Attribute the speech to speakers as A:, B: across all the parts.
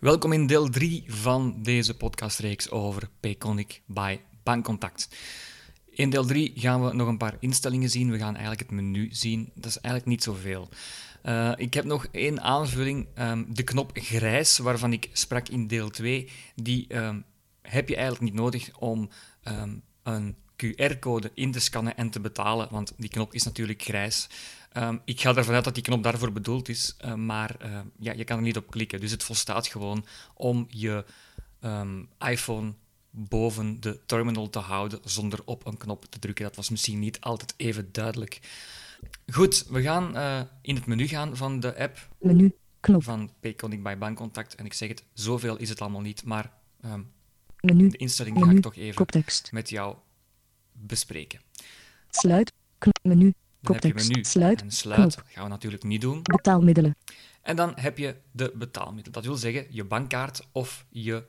A: Welkom in deel 3 van deze podcastreeks over Payconic by Bankcontact. In deel 3 gaan we nog een paar instellingen zien. We gaan eigenlijk het menu zien. Dat is eigenlijk niet zoveel. Eh ik heb nog één aanvulling. ehm, de knop grijs, waarvan ik sprak in deel 2, die ehm, heb je eigenlijk niet nodig om ehm, een QR-code in te scannen en te betalen, want die knop is natuurlijk grijs. Ehm, ik ga ervan uit dat die knop daarvoor bedoeld is, eh, maar eh, ja, je kan er niet op klikken. Dus het volstaat gewoon om je ehm, iPhone boven de terminal te houden zonder op een knop te drukken. Dat was misschien niet altijd even duidelijk. Goed, we gaan eh, in het menu gaan van de app
B: Menu. Knop.
A: van Payconic by Bankcontact. En ik zeg het, zoveel is het allemaal niet, maar ehm,
B: Menu.
A: de instelling ga
B: Menu.
A: ik toch even
B: Koptekst.
A: met jou bespreken.
B: Sluit. Knop. Menu.
A: Dan heb je
B: Koptekst.
A: menu
B: Sluit.
A: en sluit.
B: knop.
A: gaan we natuurlijk niet doen.
B: Betaalmiddelen.
A: En dan heb je de betaalmiddel. Dat wil zeggen je bankkaart of je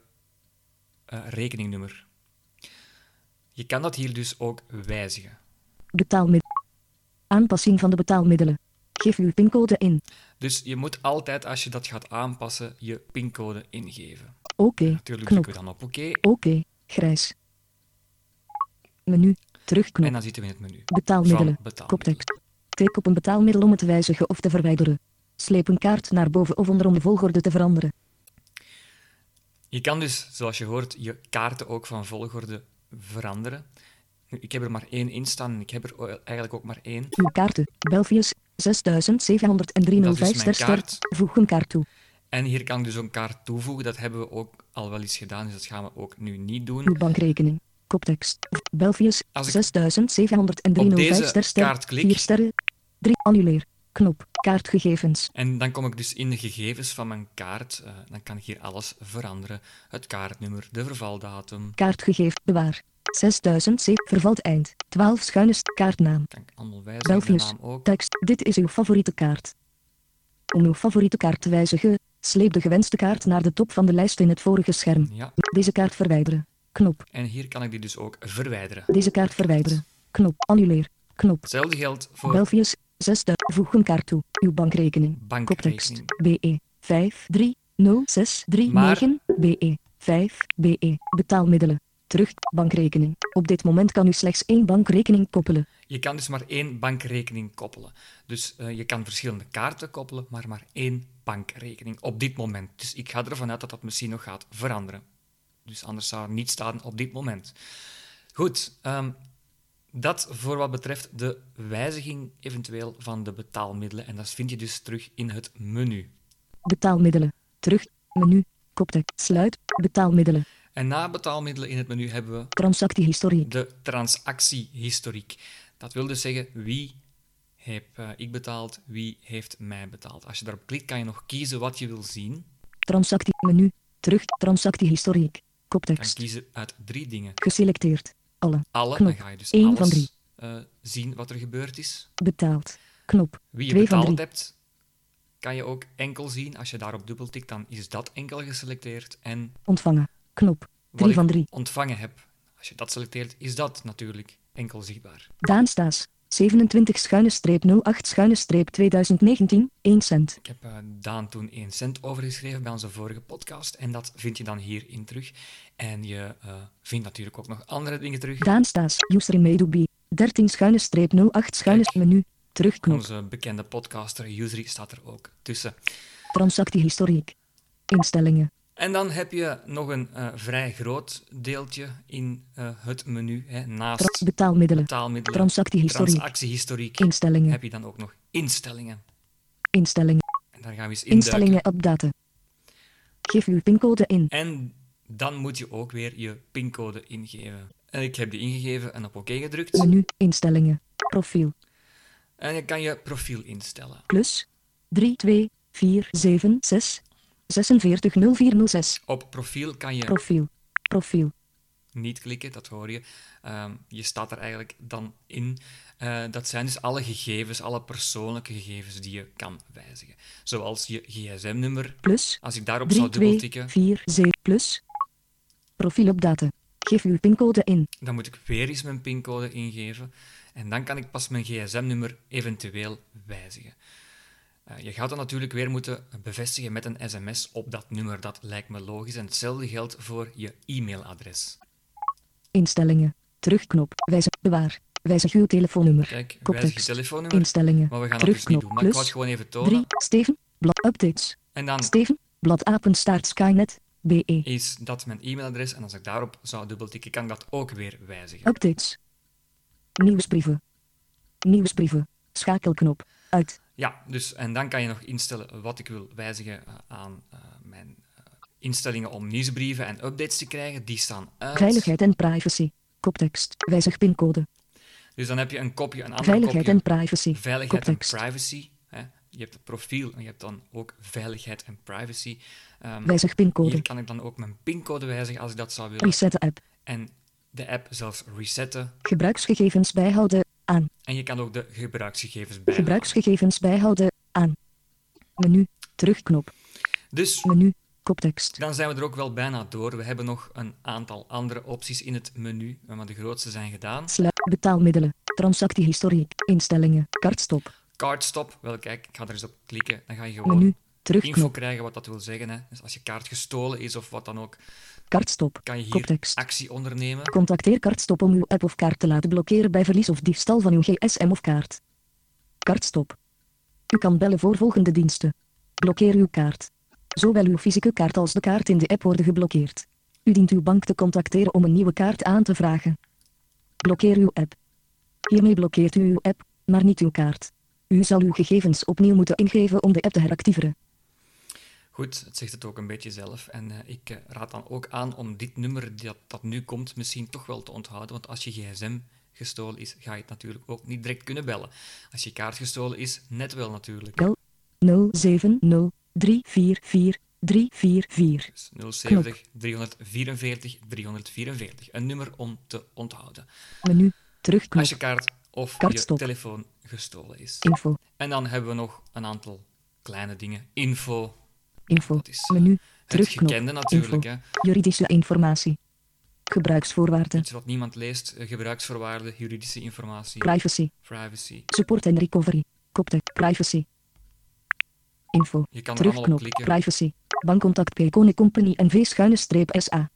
A: eh, rekeningnummer. Je kan dat hier dus ook wijzigen.
B: Betaalmiddelen. Aanpassing van de betaalmiddelen. Geef uw pincode in.
A: Dus je moet altijd, als je dat gaat aanpassen, je pincode ingeven.
B: Oké.
A: Natuurlijk
B: Knop.
A: drukken we dan op oké
B: Oké. Grijs. Menu. Terugknop.
A: en dan zitten we in het menu.
B: Betaalmiddelen.
A: van betaalmiddelen.
B: Koptekst. Tik op een betaalmiddel om het te wijzigen of te verwijderen. Sleep een kaart naar boven of onder om de volgorde te veranderen.
A: Je kan dus, zoals je hoort, je kaarten ook van volgorde veranderen. Nu, Ik heb er maar één in staan en ik heb er o- eigenlijk ook maar één.
B: Uw kaarten. Belfius. 670305
A: Dat is mijn
B: ster ster.
A: kaart.
B: Voeg een kaart toe.
A: En hier kan ik dus een kaart toevoegen. Dat hebben we ook al wel eens gedaan, dus dat gaan we ook nu niet doen.
B: Uw bankrekening. Koptekst. Belfius.
A: Als ik
B: 670305
A: deze
B: ster ster.
A: kaart klik-
B: 4 sterren. 3. Annuleer. Knop. Kaartgegevens.
A: En dan kom ik dus in de gegevens van mijn kaart. eh, dan kan ik hier alles veranderen. Het kaartnummer, de vervaldatum.
B: Kaartgegevens. Bewaar. 6007. Vervalt eind. 12 schuine st- kaartnaam.
A: Kan ik allemaal wijzigen, de
B: Belfius.
A: naam ook.
B: Tekst. Dit is uw favoriete kaart. Om uw favoriete kaart te wijzigen, sleep de gewenste kaart naar de top van de lijst in het vorige scherm.
A: Ja.
B: Deze kaart verwijderen. Knop.
A: En hier kan ik die dus ook verwijderen.
B: Deze kaart verwijderen. Knop. Annuleer. Knop.
A: Hetzelfde geldt voor
B: Belfius. 6000. Voeg een kaart toe. Uw bankrekening. Koptekst E
A: bankrekening.
B: BE 530639 BE 5 BE E. betaalmiddelen. Terug bankrekening. Op dit moment kan u slechts één bankrekening koppelen.
A: Je kan dus maar één bankrekening koppelen. Dus eh, je kan verschillende kaarten koppelen, maar maar één bankrekening op dit moment. Dus ik ga ervan uit dat dat misschien nog gaat veranderen. Dus anders zou er niet staan op dit moment. Goed, ehm, dat voor wat betreft de wijziging eventueel van de betaalmiddelen. En dat vind je dus terug in het menu.
B: Betaalmiddelen. Terug menu. Koptekst sluit betaalmiddelen.
A: En na betaalmiddelen in het menu hebben we
B: Transactiehistorie.
A: de transactiehistoriek. Dat wil dus zeggen wie heb eh, ik betaald, wie heeft mij betaald. Als je daarop klikt, kan je nog kiezen wat je wil zien.
B: Transactie menu. Terug transactiehistoriek.
A: Je kan
B: Koptekst
A: kiezen uit drie dingen.
B: geselecteerd. Alle
A: Alle,
B: Knop.
A: dan ga je dus
B: Eén
A: alles
B: van drie.
A: eh, zien wat er gebeurd is.
B: betaald. Knop.
A: Wie je
B: Twee van
A: betaald
B: drie.
A: hebt, kan je ook enkel zien. Als je daarop dubbeltikt, dan is dat enkel geselecteerd. En
B: Ontvangen. Knop.
A: wat
B: Drie
A: ik
B: van drie.
A: ontvangen heb, als je dat selecteert, is dat natuurlijk enkel zichtbaar.
B: Daan Staes. 27 schuine streep 08 schuine streep 2019. 1 cent.
A: Ik heb eh, Daan toen 1 cent overgeschreven bij onze vorige podcast. En dat vind je dan hierin terug. En je eh, vindt natuurlijk ook nog andere dingen terug.
B: Daan Staes, user Medubi, 13 schuine streep 08 schuine
A: Kijk.
B: menu, terugknop,
A: Onze bekende podcaster Usery staat er ook tussen.
B: transactiehistoriek, instellingen,
A: En dan heb je nog een eh, vrij groot deeltje in eh, het menu. Hè,
B: tra-
A: naast
B: betaalmiddelen,
A: betaalmiddelen,
B: transactiehistoriek,
A: transactiehistoriek,
B: instellingen,
A: heb je dan ook nog instellingen.
B: instellingen,
A: En daar gaan we eens induiken.
B: instellingen updaten. Geef uw pincode in,
A: En dan moet je ook weer je pincode ingeven. En ik heb die ingegeven en op oké gedrukt.
B: menu, instellingen, profiel,
A: En je kan je profiel instellen.
B: plus, 3, 2, 4, 7, 6, 46, 0406,
A: Op profiel kan je
B: profiel, profiel,
A: niet klikken, dat hoor je. Ehm, je staat er eigenlijk dan in. Eh, dat zijn dus alle gegevens, alle persoonlijke gegevens die je kan wijzigen. Zoals je gsm-nummer.
B: plus,
A: Als ik daarop
B: 3,
A: zou
B: 2,
A: dubbeltikken,
B: 4, 7, plus, profiel updaten. Geef uw pincode in.
A: dan moet ik weer eens mijn pincode ingeven. En dan kan ik pas mijn gsm-nummer eventueel wijzigen. Eh, je gaat dat natuurlijk weer moeten bevestigen met een sms op dat nummer. Dat lijkt me logisch. En hetzelfde geldt voor je e-mailadres.
B: Instellingen. Terugknop. Wijzig. Bewaar. Wijzig uw telefoonnummer.
A: Kijk, wijzig je
B: Koptekst.
A: telefoonnummer.
B: Instellingen.
A: Maar we gaan dat dus niet
B: Terugknop.
A: doen. Maar ik wou het
B: Plus.
A: gewoon even tonen.
B: 3. Steven. Blad updates.
A: En dan
B: Steven. Blad apenstaart Skynet. E. BE.
A: is dat mijn e-mailadres. En als ik daarop zou dubbeltikken, kan ik dat ook weer wijzigen.
B: Updates. Nieuwsbrieven. Nieuwsbrieven. Schakelknop. Uit.
A: Ja, dus en dan kan je nog instellen wat ik wil wijzigen eh, aan eh, mijn eh, instellingen om nieuwsbrieven en updates te krijgen. Die staan uit.
B: Veiligheid en privacy. Koptekst. Wijzig pincode.
A: Dus dan heb je een kopje, een ander
B: Veiligheid
A: kopje.
B: en privacy.
A: veiligheid
B: Koptekst.
A: en privacy. Hè. Je hebt het profiel en je hebt dan ook veiligheid en privacy. Ehm,
B: Wijzig
A: hier
B: pincode.
A: kan ik dan ook mijn pincode wijzigen als ik dat zou willen.
B: Reset app.
A: En de app zelfs resetten.
B: Gebruiksgegevens bijhouden. Aan.
A: En je kan ook de gebruiksgegevens bijhouden.
B: Gebruiksgegevens bijhouden. Aan. Menu. Terugknop.
A: Dus
B: Menu. Koptekst.
A: dan zijn we er ook wel bijna door. We hebben nog een aantal andere opties in het menu, maar de grootste zijn gedaan.
B: Sluit. Betaalmiddelen. Transactiehistoriek. Instellingen. Kartstop.
A: Cardstop, wel kijk, ik ga er eens op klikken. Dan ga je gewoon
B: Menu.
A: info
B: Terugknop.
A: krijgen wat dat wil zeggen. Hè. Dus als je kaart gestolen is of wat dan ook,
B: Kartstop.
A: kan je hier
B: Koptekst.
A: actie ondernemen.
B: Contacteer Kartstop om uw app of kaart te laten blokkeren bij verlies of diefstal van uw gsm of kaart. Kartstop. U kan bellen voor volgende diensten. Blokkeer uw kaart. Zowel uw fysieke kaart als de kaart in de app worden geblokkeerd. U dient uw bank te contacteren om een nieuwe kaart aan te vragen. Blokkeer uw app. Hiermee blokkeert u uw app, maar niet uw kaart. U zal uw gegevens opnieuw moeten ingeven om de app te heractiveren.
A: Goed, het zegt het ook een beetje zelf. En eh, ik eh, raad dan ook aan om dit nummer dat, dat nu komt misschien toch wel te onthouden. Want als je gsm gestolen is, ga je het natuurlijk ook niet direct kunnen bellen. Als je kaart gestolen is, net wel natuurlijk.
B: Bel 070 344 344.
A: Dus 070 344 344. Een nummer om te onthouden.
B: Menu. Terugknop.
A: Als je kaart of je
B: Kaartstop.
A: telefoon gestolen is.
B: Info.
A: En dan hebben we nog een aantal kleine dingen. Info,
B: Info.
A: Dat is, eh,
B: menu.
A: het
B: Terugknop.
A: gekende natuurlijk.
B: Info.
A: Hè.
B: Juridische informatie. Gebruiksvoorwaarden.
A: Iets wat niemand leest, eh, gebruiksvoorwaarden, juridische informatie.
B: Privacy.
A: privacy.
B: Support en recovery. Koptekst. Privacy. Info.
A: Je kan er allemaal op
B: Terugknop.
A: klikken.
B: Privacy. Bankcontact Payconic Company NV schuine streep SA.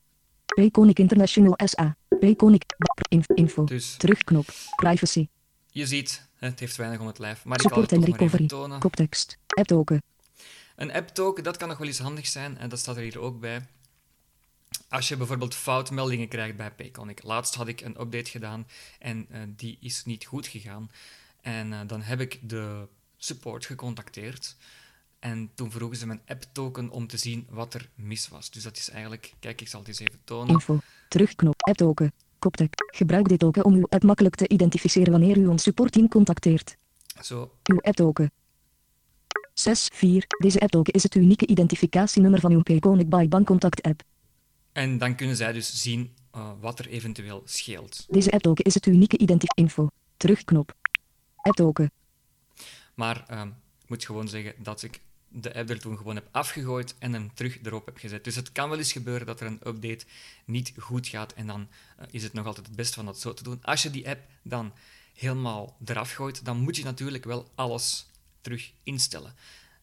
B: Payconic International SA. Payconic. Ba- inf- Info.
A: Dus
B: Terugknop. Privacy.
A: je ziet, hè, het heeft weinig om het lijf, maar ik kan het
B: Support en
A: toch maar even
B: recovery.
A: tonen.
B: Koptekst. App token.
A: Een app-token, dat kan nog wel eens handig zijn, en dat staat er hier ook bij. Als je bijvoorbeeld foutmeldingen krijgt bij Payconic. Laatst had ik een update gedaan en eh, die is niet goed gegaan. En eh, dan heb ik de support gecontacteerd. En toen vroegen ze mijn app-token om te zien wat er mis was. Dus dat is eigenlijk... Kijk, ik zal het eens even tonen.
B: Info. Terugknop. App token. Koptekst. Gebruik dit token om uw app makkelijk te identificeren wanneer u ons supportteam contacteert.
A: Zo,
B: Uw app-token. 6.4. Deze app-token is het unieke identificatienummer van uw Payconic by Bankcontact app.
A: En dan kunnen zij dus zien eh, wat er eventueel scheelt.
B: Deze app-token is het unieke identificatie-info. Terugknop. App-token.
A: Maar ehm, ik moet gewoon zeggen dat ik de app er toen gewoon heb afgegooid en hem terug erop heb gezet. Dus het kan wel eens gebeuren dat er een update niet goed gaat. En dan eh, is het nog altijd het beste van dat zo te doen. Als je die app dan helemaal eraf gooit, dan moet je natuurlijk wel alles terug instellen.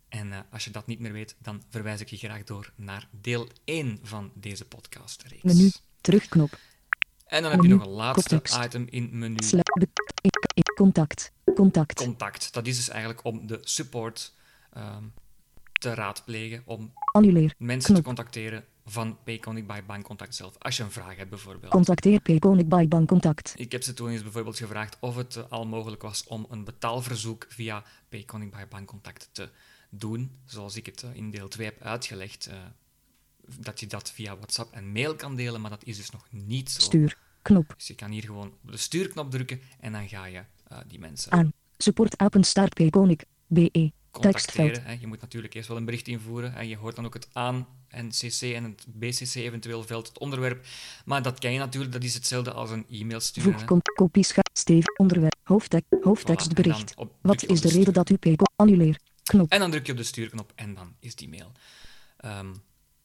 A: En eh, als je dat niet meer weet, dan verwijs ik je graag door naar deel 1 van deze podcastreeks.
B: Menu. Terugknop.
A: En dan heb je
B: Menu.
A: nog een laatste
B: Koptekst.
A: item in menu.
B: Sluit. be- in- in- Contact. Contact.
A: contact. Dat is dus eigenlijk om de support ehm, te raadplegen, om
B: Annuleer.
A: mensen
B: Knop.
A: te contacteren van Payconic by Bankcontact zelf, als je een vraag hebt bijvoorbeeld.
B: Contacteer Payconic by Bankcontact.
A: ik heb ze toen eens bijvoorbeeld gevraagd of het eh, al mogelijk was om een betaalverzoek via Payconic by Bankcontact te doen, zoals ik het eh, in deel 2 heb uitgelegd, eh, dat je dat via WhatsApp en mail kan delen, maar dat is dus nog niet zo.
B: Stuur. Knop.
A: Dus je kan hier gewoon op de stuurknop drukken en dan ga je eh, die mensen
B: Aan. Support apenstaart Payconic. BE. E. Tekstveld.
A: contacteren. Hè. Je moet natuurlijk eerst wel een bericht invoeren. Hè. Je hoort dan ook het aan- en cc en het bcc eventueel veld, het onderwerp. Maar dat ken je natuurlijk, dat is hetzelfde als een e-mail sturen.
B: Voeg
A: hè.
B: kop- kopie scha- Steef. Onderwerp. Hoofdtek.
A: en
B: Hoofdtekstbericht.
A: dan op- druk
B: Wat
A: je
B: is
A: op
B: de
A: stuur.
B: reden dat u Payconic annuleer? Knop.
A: En dan druk je op de stuurknop en dan is die mail ehm,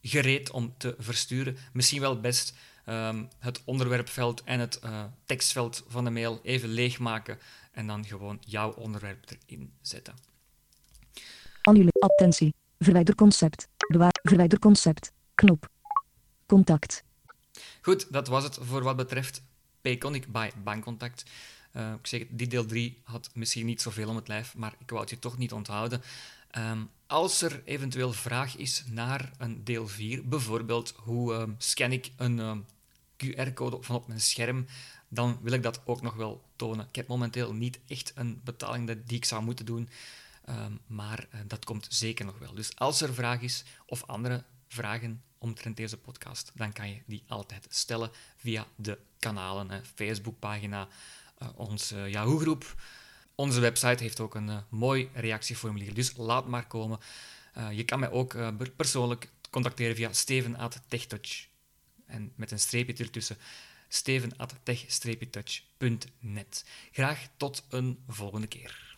A: gereed om te versturen. Misschien wel best ehm, het onderwerpveld en het eh, tekstveld van de mail even leegmaken en dan gewoon jouw onderwerp erin zetten.
B: Annuleer. Attentie. Verwijder concept. Bewaar. Verwijder concept. Knop. Contact.
A: Goed, dat was het voor wat betreft Payconic bij Bankcontact. Eh, ik zeg, het, die deel 3 had misschien niet zoveel om het lijf, maar ik wou het je toch niet onthouden. Ehm, als er eventueel vraag is naar een deel 4, bijvoorbeeld hoe ehm, scan ik een ehm, QR-code van op mijn scherm, dan wil ik dat ook nog wel tonen. Ik heb momenteel niet echt een betaling dat- die ik zou moeten doen, ehm, maar eh, dat komt zeker nog wel. Dus als er vraag is of andere vragen omtrent deze podcast, dan kan je die altijd stellen via de kanalen, hè, Facebookpagina, eh, onze Yahoo-groep. Onze website heeft ook een eh, mooi reactieformulier, dus laat maar komen. Eh, je kan mij ook eh, per- persoonlijk contacteren via steven.techtouch. En met een streepje ertussen, steven.tech-touch.net. Graag tot een volgende keer.